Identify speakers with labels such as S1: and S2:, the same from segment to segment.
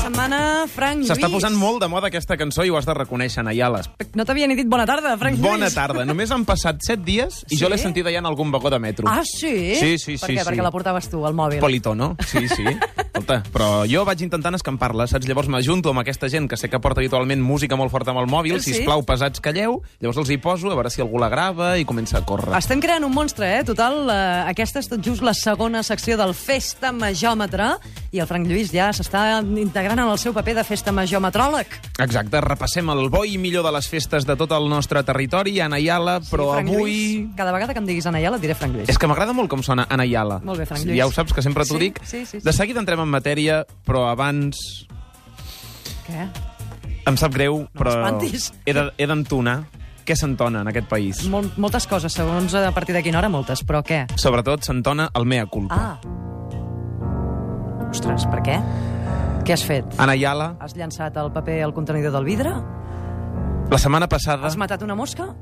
S1: setmana, Frank Lluís.
S2: S'està posant molt de moda aquesta cançó i ho has de reconèixer, Nayala.
S1: No t'havia ni dit bona tarda, Frank Lluís.
S2: Bona tarda. Només han passat 7 dies i
S1: Sí?
S2: jo l'he sentida ja en algun vagó de metro.
S1: Ah, sí?
S2: Sí, sí,
S1: per
S2: sí,
S1: Què?
S2: sí.
S1: Perquè la portaves tu, al mòbil.
S2: Politono, sí, sí. Escolta, però jo vaig intentant escampar-la, saps? Llavors m'ajunto amb aquesta gent que sé que porta habitualment música molt forta amb el mòbil,
S1: Sí.
S2: si plau pesats calleu, llavors els hi poso a veure si algú la grava i comença a córrer.
S1: Estem creant un monstre, eh? Total, eh, aquesta és tot just la segona secció del Festa Majòmetre i el Frank Lluís ja s'està integrant en el seu paper de Festa Majòmetròleg.
S2: Exacte, repassem el bo i millor de les festes de tot el nostre territori, Ana Iala, però
S1: Frank
S2: avui...
S1: Lluís, cada vegada que em diguis Anaiala et diré Frank Lluís.
S2: És que m'agrada molt com sona Ana Iala.
S1: Molt bé, Frank
S2: Sí,
S1: Lluís.
S2: Ja ho saps, que sempre t'ho
S1: Sí,
S2: dic.
S1: sí, sí, sí.
S2: De seguida entrem en matèria, però abans...
S1: Què?
S2: Em sap greu, però
S1: m'espantis.
S2: he de- he d'entonar què s'entona en aquest país.
S1: Mol, moltes coses, segons a partir de quina hora, moltes, però què?
S2: Sobretot s'entona el mea culpa.
S1: Ah. Ostres, per què? Què has fet?
S2: Ana Iala,
S1: Has llançat el paper al contenidor del vidre?
S2: la setmana passada...
S1: Has matat una mosca?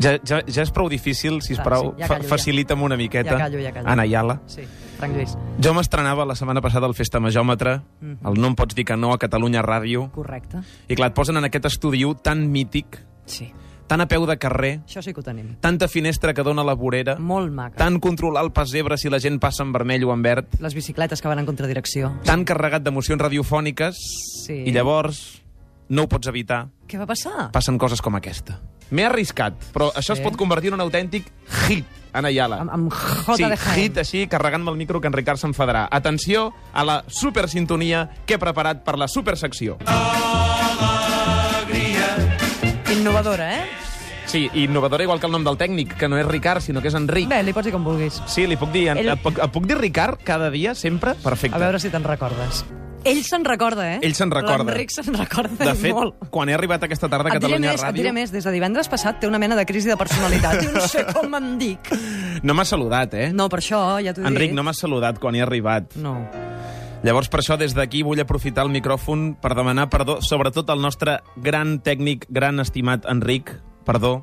S2: Ja, ja, ja és prou difícil, si us
S1: Va,
S2: plau,
S1: Ah, sí, ja
S2: fa-
S1: callo, ja.
S2: facilita'm una miqueta.
S1: Ja callo, ja callo.
S2: Ana Iala.
S1: Sí, Frank Lluís.
S2: Jo m'estrenava la setmana passada al Festa Majòmetre,
S1: Mhm.
S2: el No em pots dir que no a Catalunya Ràdio,
S1: Correcte.
S2: i clar, et posen en aquest estudiu tan mític,
S1: Sí,
S2: tan a peu de carrer,
S1: això sí que ho tenim.
S2: tanta finestra que dona la vorera,
S1: Molt maca.
S2: tant controlar el pessebre si la gent passa en vermell o en verd,
S1: Les bicicletes que van en contradirecció.
S2: tan carregat d'emocions radiofòniques,
S1: Sí.
S2: i llavors no ho pots evitar.
S1: Què va passar?
S2: Passen coses com aquesta. M'he arriscat, però això
S1: Sí.
S2: es pot convertir en un autèntic hit, Ana Iala.
S1: Amb, amb J
S2: sí,
S1: de Jaén.
S2: hit així, carregant-me el micro que en Ricard s'enfadarà. Atenció a la supersintonia que he preparat per la supersecció.
S1: Innovadora, eh?
S2: Sí, innovadora igual que el nom del tècnic, que no és Ricard, sinó que és Enric.
S1: Bé, li pots dir com vulguis.
S2: Sí, li puc dir, en,
S1: Ell-
S2: et, puc, et puc dir Ricard cada dia, sempre? Perfecte.
S1: A veure si te'n recordes. Ell se'n recorda, eh?
S2: Ell se'n recorda.
S1: L'Enric se'n recorda
S2: De fet,
S1: molt.
S2: quan he arribat aquesta tarda a
S1: et diré
S2: Catalunya
S1: més, et
S2: Ràdio...
S1: diré més. Des de divendres passat té una mena de crisi de personalitat. Jo no sé com em dic.
S2: No m'ha saludat, eh?
S1: No, per això ja t'ho he
S2: Enric,
S1: dit.
S2: no m'ha saludat quan he arribat.
S1: No.
S2: Llavors, per això, des d'aquí vull aprofitar el micròfon per demanar perdó, sobretot al nostre gran tècnic, gran estimat Enric, perdó,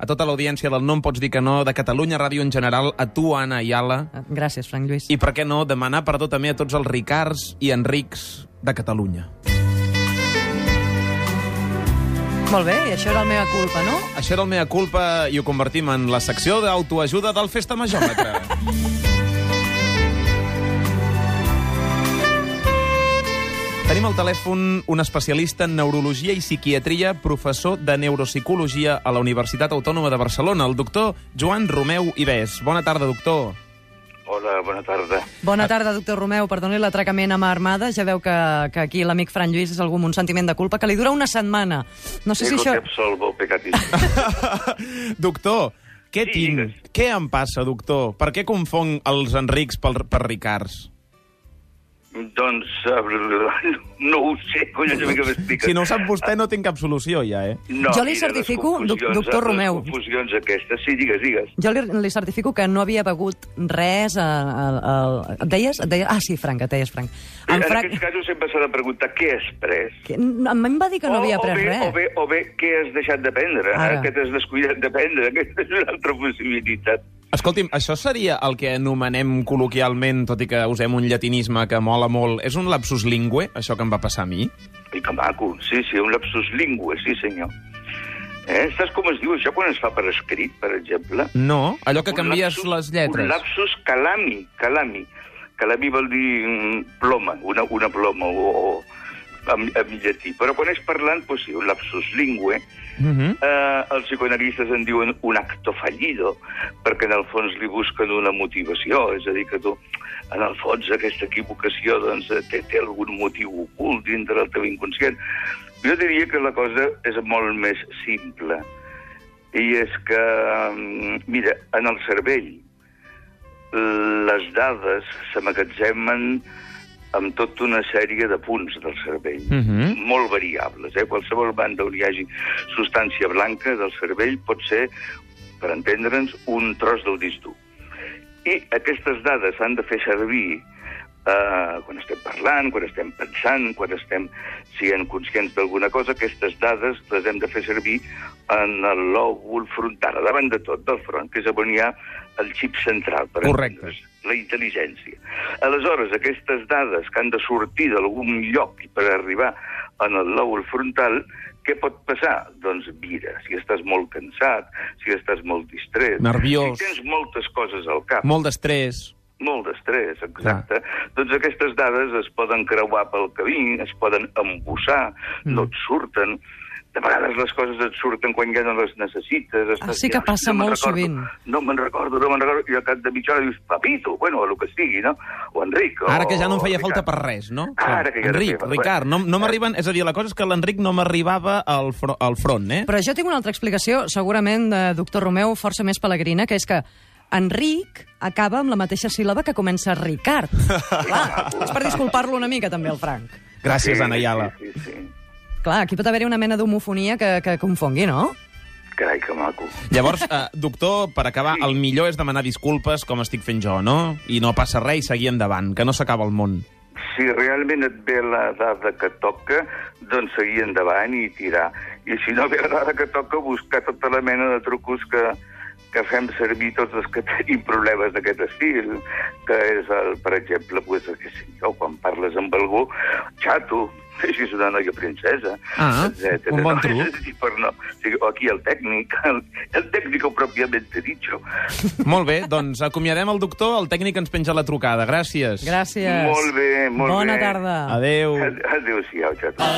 S2: a tota l'audiència del No em pots dir que no, de Catalunya Ràdio en general, a tu, Anna Ayala,
S1: Gràcies, Frank Lluís.
S2: i per què no, demanar perdó també a tots els Ricards i Enrics de Catalunya.
S1: Molt bé, i això era la meva culpa, no?
S2: Això era el Mea Culpa i ho convertim en la secció d'autoajuda del Festa Majòmetre. Tenim al telèfon un especialista en neurologia i psiquiatria, professor de neuropsicologia a la Universitat Autònoma de Barcelona, el doctor Joan Romeu Ives. Bona tarda, doctor.
S3: Hola, bona tarda.
S1: Bona tarda, doctor Romeu. Perdoni l'atracament a mà armada. Ja veu que, que aquí l'amic Fran Lluís és algú amb un sentiment de culpa que li dura una setmana. No sé si
S3: Ego
S1: això...
S3: te absolvo, pecatis.
S2: doctor, què
S3: Sí,
S2: tinc?
S3: digues.
S2: Què em passa, doctor? Per què confong els Enrics pel, per Ricards?
S3: doncs, eh, no ho sé, collons, a mi que m'expliques.
S2: Si no ho sap vostè, no tinc cap solució ja, eh?
S3: No,
S1: Jo li
S3: mira, les
S1: certifico, doc-
S3: confusions,
S1: doctor
S3: les
S1: Romeu.
S3: confusions aquestes. Sí, digues, digues.
S1: Jo li, li certifico que no havia begut res... A, a, a, et deies? Et deies? Ah, sí, Frank, et deies, Frank.
S3: En,
S1: En Frank...
S3: aquests casos sempre s'ha de preguntar què has pres.
S1: Que, no, a mi em va dir que no havia
S3: o,
S1: pres
S3: bé,
S1: res.
S3: o, bé, o bé, què has deixat de prendre?
S1: Ara.
S3: Què t'has descuidat de prendre? Aquesta és una altra possibilitat.
S2: Escolti'm, això seria el que anomenem col·loquialment, tot i que usem un llatinisme que mola molt. És un lapsus lingüe, això que em va passar a mi?
S3: I que maco. Sí, sí, un lapsus lingüe, sí, senyor. Eh? Saps com es diu això quan es fa per escrit, per exemple?
S2: No, allò que
S3: Un
S2: canvies
S3: lapsus-
S2: les
S3: Un
S2: lletres.
S3: lapsus calami, calami. Calami vol dir mm, ploma, una, una ploma o, o amb, amb llatí. Però quan és parlant, doncs sí, un lapsus lingüe.
S2: Mm -hmm.
S3: Eh, els psicoanalistes en diuen un acto fallido, perquè en el fons li busquen una motivació, és a dir, que tu, en el fons, aquesta equivocació doncs, eh, té, té algun motiu ocult dintre del teu inconscient. Jo diria que la cosa és molt més simple. I és que, mm, mira, en el cervell les dades s'amagatzemen amb tota una sèrie de punts del cervell,
S2: Mhm.
S3: molt variables. Eh? Qualsevol banda on hi hagi substància blanca del cervell pot ser, per entendre'ns, un tros del disc dur. I aquestes dades s'han de fer servir eh, quan estem parlant, quan estem pensant, quan estem sent conscients d'alguna cosa, aquestes dades les hem de fer servir en el lòbul frontal, a davant de tot, del front, que és on hi ha el xip central. Per
S2: Correcte.
S3: entendre's. la intel·ligència. Aleshores, aquestes dades que han de sortir d'algun lloc per arribar en el lòbul frontal, què pot passar? Doncs mira, si estàs molt cansat, si estàs molt distret...
S2: Nerviós.
S3: Si tens moltes coses al cap,
S2: Molt d'estrès.
S3: molt d'estrès, exacte, doncs aquestes dades es poden creuar pel camí, es poden embussar, mm. no et surten. De vegades les coses et surten quan ja no les necessites.
S2: Ah,
S3: Estàs,
S1: sí que
S3: "Ai,
S1: passa
S3: me'n
S1: molt
S3: recordo,
S1: sovint."
S3: No me'n recordo, no me'n recordo, i al cap de mitja hora dius, papito, bueno, el que sigui, no? O Enric,
S2: Ara que ja no em feia
S3: o
S2: falta
S3: Ricard.
S2: per res, no?
S3: Ara que ja no feia
S2: Enric,
S3: falta.
S2: Ricard, no, no m'arriben... És a dir, la cosa és que l'Enric no m'arribava al, fro al front, eh?
S1: Però jo tinc una altra explicació, segurament, de doctor Romeu, força més pelegrina, que és que Enric acaba amb la mateixa síl·laba que comença Ricard. Clar, és per disculpar-lo una mica, també, el Frank.
S2: Gràcies,
S3: Sí,
S2: Ana Iala.
S3: Sí, sí, sí.
S1: Clar, aquí pot haver-hi una mena d'homofonia que, que confongui, no?
S3: Carai, que maco.
S2: Llavors, eh, doctor, per acabar, el millor és demanar disculpes, com estic fent jo, no? I no passa res i seguir endavant, que no s'acaba el món.
S3: Si realment et ve la dada que toca, doncs seguir endavant i tirar. I si no ve la dada que toca, buscar tota la mena de trucos que, que fem servir tots els que tenim problemes d'aquest estil, que és, el, per exemple, pues, que sé jo, quan parles amb algú, xato, així és una noia princesa,
S2: Ah,
S3: etcètera.
S2: un bon
S3: No,
S2: truc.
S3: és a dir, però no. O sigui, o aquí el tècnic, el, el tècnico propiamente dicho.
S2: Molt bé, doncs acomiadem el doctor, el tècnic ens penja la trucada. Gràcies.
S1: Gràcies.
S3: Molt bé, molt
S1: Bona
S3: bé.
S1: tarda.
S2: Adéu.
S3: Adéu-siau, xato.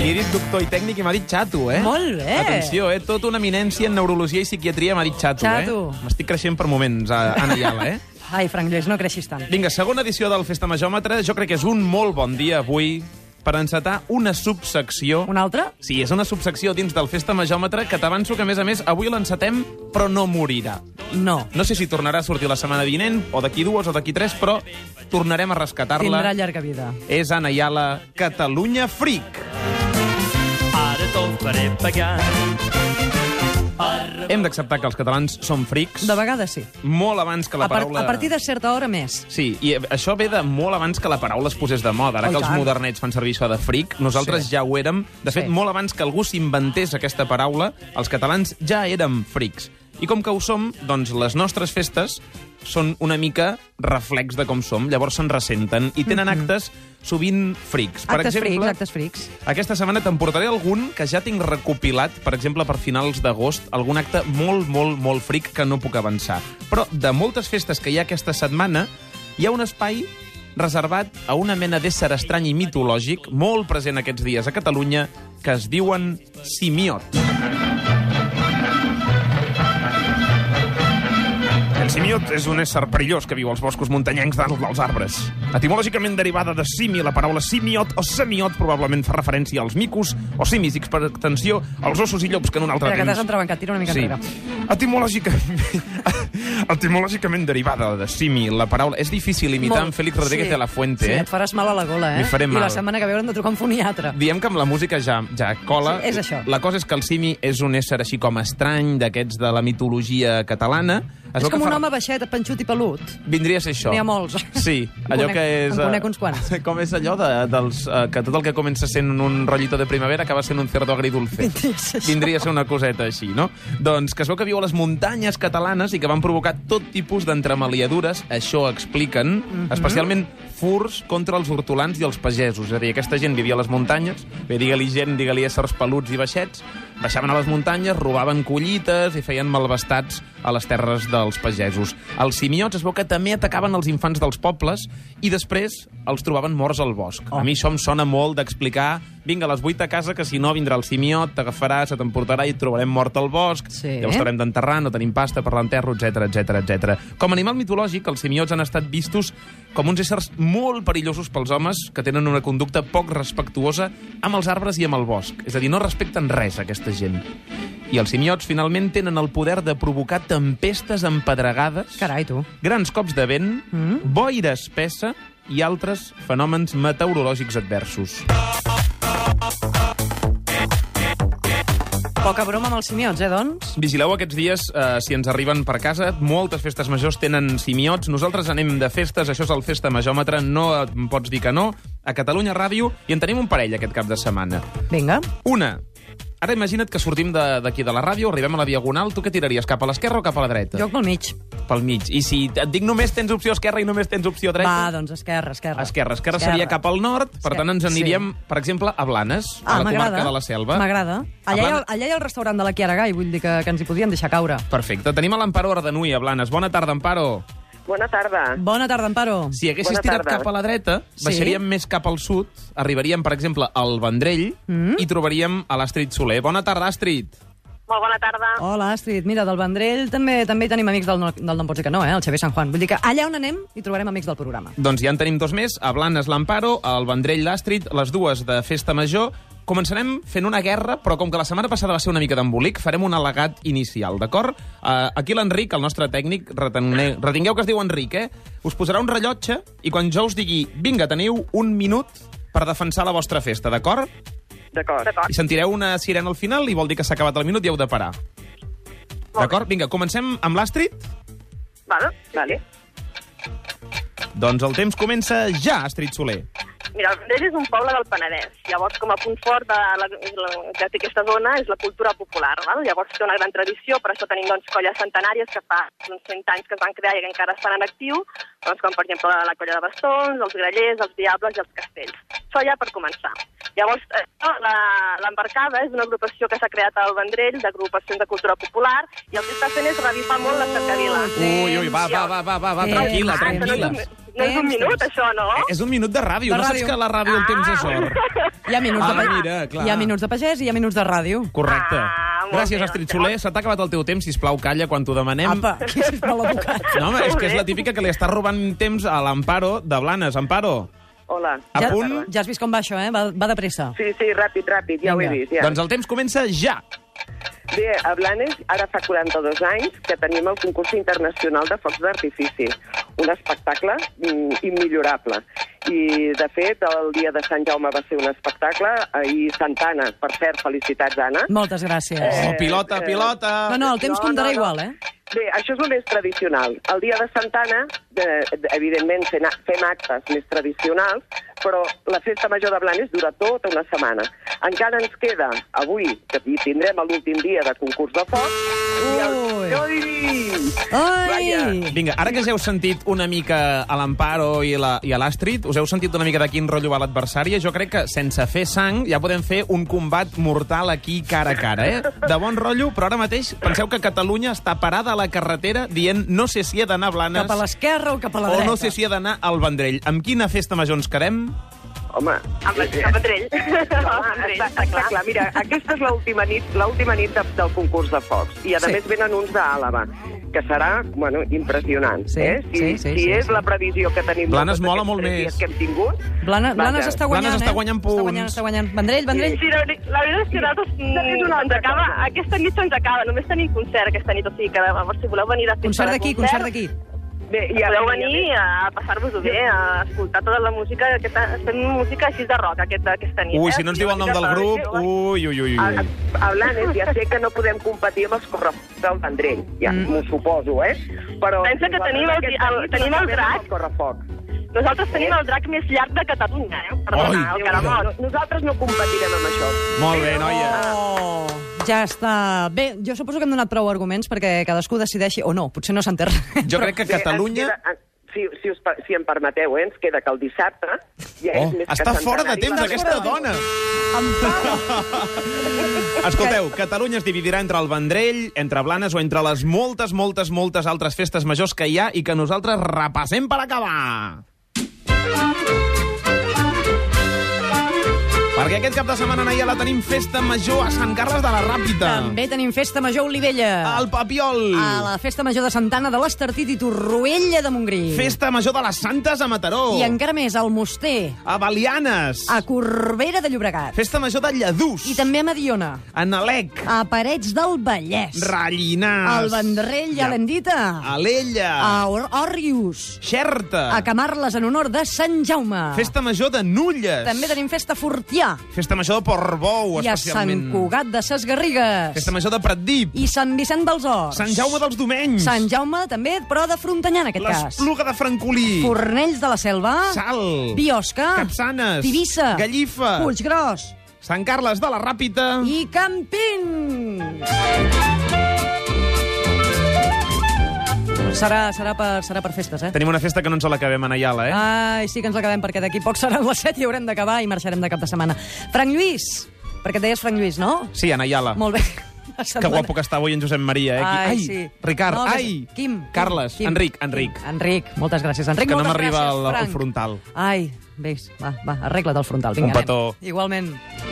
S2: Li he dit doctor i tècnic i m'ha dit xato, eh?
S1: Molt bé.
S2: Atenció, eh? Tota una eminència en neurologia i psiquiatria m'ha dit xato,
S1: Xato.
S2: eh? M'estic creixent per moments, a- Ana Iala, eh?
S1: Ai, Frank Lluís, no creixis tant.
S2: Vinga, segona edició del Festa Majòmetre. Jo crec que és un molt bon dia avui per encetar una subsecció...
S1: Una altra?
S2: Sí, és una subsecció dins del Festa Majòmetre que t'avanço que, a més a més, avui l'encetem però no morirà.
S1: No.
S2: No sé si tornarà a sortir la setmana vinent, o d'aquí dues, o d'aquí tres, però tornarem a
S1: Tindrà
S2: rescatar-la.
S1: llarga vida.
S2: És Anna Iala, Catalunya Freak.
S4: Ara tot faré pagar.
S2: Hem d'acceptar que els catalans són frics.
S1: De vegades sí.
S2: Molt abans que la
S1: A, par
S2: paraula...
S1: a partir de certa hora més.
S2: Sí, i això ve de molt abans que la paraula es posés de moda. Ara
S1: Oh, i
S2: que els
S1: tant.
S2: modernets fan servir això de fric, nosaltres
S1: Sí.
S2: ja ho érem. De fet,
S1: Sí.
S2: molt abans que algú s'inventés aquesta paraula, els catalans ja érem frics. I com que ho som, doncs les nostres festes són una mica reflex de com som, llavors se'n ressenten i tenen actes sovint frics. Per
S1: Mm-hmm. Actes
S2: exemple,
S1: frics, actes frics.
S2: aquesta setmana te'n portaré algun que ja tinc recopilat, per exemple, per finals d'agost, algun acte molt, molt, molt fric que no puc avançar. Però de moltes festes que hi ha aquesta setmana, hi ha un espai reservat a una mena d'ésser estrany i mitològic molt present aquests dies a Catalunya que es diuen simiots. El simiot és un ésser perillós que viu als boscos muntanyencs dalt dels arbres. Etimològicament derivada de simi, la paraula simiot o semiot probablement fa referència als micos o simis, i per extensió, als ossos i llops que en un altre
S1: Espera, que t'has
S2: temps...
S1: entrebancat, tira una mica
S2: Sí.
S1: enrere.
S2: Etimològicament... Etimològicament derivada de simi, la paraula... És difícil imitar en Félix Rodríguez
S1: sí.
S2: de la Fuente,
S1: sí,
S2: eh?
S1: et faràs mal a la gola, eh?
S2: M'hi faré
S1: I
S2: mal.
S1: la setmana que ve haurem de trucar a un foniatre.
S2: Diem que amb la música ja, ja cola.
S1: Sí, és això.
S2: La cosa és que el simi és un ésser així com estrany, d'aquests de la mitologia catalana. Es
S1: És
S2: veu que
S1: com un
S2: fa-
S1: home baixet, penxut i pelut.
S2: Vindria a ser això.
S1: N'hi ha molts.
S2: Sí, allò
S1: En conec-
S2: que és...
S1: en
S2: eh,
S1: conec uns quants.
S2: Com és allò de, dels, eh, que tot el que comença sent un rotllito de primavera acaba sent un cerdo agridulce.
S1: Vindria a ser això.
S2: Vindria a ser una coseta així, no? Doncs que es veu que viu a les muntanyes catalanes i que van provocar tot tipus d'entremaliadures, això expliquen,
S1: Mhm.
S2: especialment furs contra els hortolans i els pagesos. És a dir, aquesta gent vivia a les muntanyes, bé, digue-li gent, digue-li éssers peluts i baixets, baixaven a les muntanyes, robaven collites i feien malvestats a les terres dels pagesos. Els simiots es veu que també atacaven els infants dels pobles i després els trobaven morts al bosc. A mi això em sona molt d'explicar vinga, a les 8 a casa, que si no vindrà el simiot, t'agafarà, se t'emportarà i et trobarem mort al bosc,
S1: Sí.
S2: llavors t'haurem d'enterrar, no tenim pasta per l'enterro, etc etc etc. Com a animal mitològic, els simiots han estat vistos com uns éssers molt perillosos pels homes que tenen una conducta poc respectuosa amb els arbres i amb el bosc. És a dir, no respecten res, aquesta gent. I els simiots, finalment, tenen el poder de provocar tempestes empedregades
S1: Carai, tu.
S2: grans cops de vent, mm. boira espessa i altres fenòmens meteorològics adversos.
S1: Poca broma amb els simiots, eh, doncs?
S2: Vigileu aquests dies eh, si ens arriben per casa. Moltes festes majors tenen simiots. Nosaltres anem de festes, això és el Festa Majòmetre, no em pots dir que no, a Catalunya Ràdio, i en tenim un parell aquest cap de setmana.
S1: Vinga.
S2: Una, Ara imagina't que sortim de- d'aquí de, la ràdio, arribem a la Diagonal, tu què tiraries, cap a l'esquerra o cap a la dreta?
S1: Jo pel mig.
S2: Pel mig. I si et dic només tens opció esquerra i només tens opció dreta?
S1: Va, doncs esquerra, esquerra.
S2: Esquerra. Esquerra seria cap al nord, per
S1: Esquerra.
S2: tant ens aniríem,
S1: Sí.
S2: per exemple, a Blanes,
S1: Ah,
S2: a la
S1: m'agrada.
S2: comarca de la Selva.
S1: M'agrada.
S2: A
S1: Allà, hi ha-
S2: Blanes-
S1: allà hi ha el restaurant de la Chiara Gai, vull dir que, que ens hi podien deixar caure.
S2: Perfecte. Tenim a l'Amparo Ardenui, a Blanes. Bona tarda, Amparo.
S5: Bona tarda.
S1: Bona tarda, Amparo.
S2: Si haguessis
S5: Bona
S2: tirat
S5: tarda.
S2: cap a la dreta,
S1: Sí.
S2: baixaríem més cap al sud, arribaríem, per exemple, al Vendrell
S1: Mm.
S2: i trobaríem a l'Astrid Soler. Bona tarda, Astrid.
S5: Molt bona tarda.
S1: Hola, Astrid. Mira, del Vendrell també també hi tenim amics del, no, del No em pots dir que no, eh? el Xavier San Juan. Vull dir que allà on anem hi trobarem amics del programa.
S2: Doncs ja en tenim dos més, a Blanes l'Amparo, al Vendrell l'Astrid, les dues de Festa Major. Començarem fent una guerra, però com que la setmana passada va ser una mica d'embolic, farem un al·legat inicial, d'acord? Uh, aquí l'Enric, el nostre tècnic, retene... retingueu que es diu Enric, eh? Us posarà un rellotge i quan jo us digui vinga, teniu un minut per defensar la vostra festa, d'acord?
S5: D'acord.
S2: I sentireu una sirena al final i vol dir que s'ha acabat el minut i heu de parar. D'acord? Vinga, comencem amb l'Astrid.
S5: Vale. vale.
S2: Doncs el temps comença ja, Astrid Soler.
S6: Mira, el Vendrell és un poble del Penedès. Llavors, com a punt fort de la, la, que té aquesta zona és la cultura popular. Val? Llavors, té una gran tradició, per això tenim doncs, colles centenàries que fa uns 100 anys que es van crear i que encara estan en actiu, doncs, com per exemple la colla de bastons, els grallers, els diables i els castells. Això ja per començar. Llavors, eh, no, la- l'Embarcada és una agrupació que s'ha creat al Vendrell d'agrupacions de cultura popular i el que està fent és revifar molt la cercavila.
S2: Ui, ui, va, va, va, va, va, va
S1: Eh,
S2: tranquil·la,
S1: ah,
S6: Ah, això no és
S2: tranquil·la.
S6: un, no és un
S1: Temps,
S6: minut,
S1: temps.
S6: això, no? Ah,
S2: Eh, És un minut de ràdio,
S1: De
S2: no saps
S1: ràdio.
S2: que a la ràdio el temps és or.
S1: Hi ha minuts
S2: Ah,
S1: de pagès.
S2: mira, clar.
S1: Hi ha minuts de pagès i hi ha minuts de ràdio.
S2: Correcte.
S6: Ah, molt
S2: Gràcies,
S6: bé,
S2: Astrid
S6: doncs.
S2: Soler. Se t'ha acabat el teu temps, sisplau, calla quan t'ho demanem.
S1: Apa, que és mal educat.
S2: No, home, és
S6: Molt
S2: que és
S6: bé.
S2: la típica que li està robant temps a l'Amparo de Blanes. Amparo,
S5: Hola.
S2: a
S1: Ja,
S2: punt?
S1: ja has vist com va això, eh? Va, va de pressa.
S5: Sí, sí, ràpid, ràpid, ja ho he
S1: Vinga.
S5: vist. Ja.
S2: Doncs el temps comença ja.
S5: Bé, a Blanes ara fa 42 anys que tenim el concurs internacional de focs d'artifici, un espectacle mm, immillorable. I, de fet, el dia de Sant Jaume va ser un espectacle, eh, i Santana, per cert, felicitats, Anna.
S1: Moltes gràcies.
S2: Oh,
S5: Eh,
S2: pilota,
S5: eh.
S2: pilota.
S1: No, no, el temps
S5: no,
S1: comptarà
S5: no, no.
S1: igual, eh?
S5: Bé, això és el més tradicional. El dia de Santana, de, de, evidentment, fem, a- fem actes més tradicionals, però la festa major de Blanes dura tota una setmana. Encara ens queda, avui, que hi tindrem l'últim dia de concurs de foc, i el...
S1: Ui.
S5: Ui!
S1: Ai!
S2: Ah, Vinga, ara que us heu sentit una mica a l'Amparo i, la, i a l'Astrid, us heu sentit una mica de quin rotllo va l'adversària, jo crec que sense fer sang ja podem fer un combat mortal aquí cara a cara, eh? De bon rotllo, però ara mateix penseu que Catalunya està parada a la carretera dient no sé si he d'anar a Blanes
S1: Cap a l'esquerra o cap a la
S2: o
S1: dreta?
S2: no sé si he d'anar al Vendrell. Amb quina festa major ens quedem?
S5: Home, eh,
S6: Amb el, amb el Vendrell. Amb el Vendrell,
S5: està, està clar. Mira, aquesta és l'última nit, l'última nit de, del concurs de focs. I, a
S1: Sí.
S5: sí. més, venen uns d'Àlava, que serà, bueno, impressionant.
S1: Sí,
S5: eh? Si,
S1: sí, sí,
S5: si
S1: sí,
S5: és
S1: sí.
S5: la previsió que tenim... de
S2: Blanes
S5: tots
S2: mola
S5: aquests
S2: molt
S5: tres
S2: més.
S5: dies Que hem tingut...
S1: Blanes, Blanes
S5: Vaja.
S1: està guanyant,
S2: Blanes està guanyant
S1: eh? Està guanyant,
S2: punts.
S1: està guanyant. Vendrell, Vendrell.
S6: Sí, la, veritat- la veritat és que nosaltres
S5: és
S6: mm, ens
S5: una altra
S6: acaba,
S5: cosa.
S6: aquesta nit se'ns acaba, només tenim concert aquesta nit, o sigui que llavors si voleu venir a fer
S1: Concert d'aquí, concert d'aquí.
S5: Bé, i
S6: Podeu
S5: a-
S6: venir a passar-vos-ho bé, a escoltar tota la música, aquesta, fem música així de rock aquesta, aquesta nit.
S2: Ui,
S6: eh?
S2: si no ens diu el nom del grup... Ui, ui, ui,
S5: A,
S2: ui.
S5: a Blanes ja sé que no podem competir amb els correfocs del Vendrell, ja
S1: Mm.
S5: m'ho suposo, eh? Però
S6: Pensa que
S5: nosaltres
S6: tenim el-
S5: aquesta
S6: el-
S5: nit
S6: tenim el
S5: acabem amb
S6: drac.
S5: els correfocs.
S6: Nosaltres tenim el drac més llarg de Catalunya, eh? Perdona,
S2: Ui.
S6: el
S5: No,
S6: caramot.
S5: no, nosaltres no competirem amb això.
S2: Molt bé, noia.
S1: Oh, ja està. Bé, jo suposo que hem donat prou arguments perquè cadascú decideixi, o no, potser no s'enterra.
S2: Jo crec que
S5: Bé, ens
S2: Catalunya...
S5: Queda, en- si, si, us, per- si em permeteu, eh, ens queda que el dissabte... Ja
S2: Oh,
S5: és més que
S2: està fora de
S5: centenari.
S2: temps,
S5: Està
S2: aquesta
S5: fora de
S2: dona! Escolteu, Catalunya es dividirà entre el Vendrell, entre Blanes o entre les moltes, moltes, moltes altres festes majors que hi ha i que nosaltres repassem per acabar. Perquè aquest cap de setmana, Naia, la tenim festa major a Sant Carles de la Ràpita.
S1: També tenim Festa Major Olivella.
S2: Al Papiol.
S1: A la Festa Major de Santana de l'Estartit i Torroella de Montgrí.
S2: Festa major de les Santes a Mataró.
S1: I encara més, al Moster,
S2: A Belianes.
S1: a Corbera de Llobregat.
S2: Festa major de Lladús.
S1: I també a Mediona,
S2: A Nalec.
S1: a Parets del Vallès.
S2: Rellinars.
S1: Al Vendrell, ja l'hem dit, a,
S2: A l'Ella.
S1: a Or Òrrius,
S2: Xerta.
S1: a Camarles en honor de Sant Jaume.
S2: Ah. Festa major de Nulles.
S1: També tenim Festa Fortià
S2: Festa major de Portbou,
S1: i a Sant
S2: especialment.
S1: Cugat de Ses Garrigues.
S2: Festa major de Pratdip.
S1: i Sant Vicent dels Horts.
S2: Sant Jaume dels Domenys.
S1: Sant Jaume també, però de Frontanyà, en aquest cas.
S2: L'Espluga de Francolí.
S1: Fornells de la Selva.
S2: Sal.
S1: Biosca.
S2: Capçanes.
S1: Tivissa.
S2: Gallifa.
S1: Puiggròs.
S2: Sant Carles de la Ràpita...
S1: I Campins! Serà, serà, per, serà per festes, eh?
S2: Tenim una festa que no ens l'acabem en Ayala, eh?
S1: Ai, sí que ens l'acabem, perquè d'aquí poc seran les 7 i haurem d'acabar i marxarem de cap de setmana. Frank Lluís, perquè et deies Frank Lluís, no?
S2: Sí, en Ayala.
S1: Molt bé. La
S2: Ah. Que
S1: setmana-
S2: guapo que està avui en Josep Maria, eh? Aquí.
S1: Ai,
S2: ai
S1: sí.
S2: Ricard,
S1: No, que-
S2: ai!
S1: Quim,
S2: Carles,
S1: Quim,
S2: Enric,
S1: Quim,
S2: Enric.
S1: Enric, moltes gràcies, Enric.
S2: Que no
S1: moltes
S2: m'arriba
S1: gràcies,
S2: al- al
S1: Frank.
S2: frontal.
S1: Ai, vés, va, va, arregla't el frontal. Vinga,
S2: Un petó.
S1: Nen. Igualment.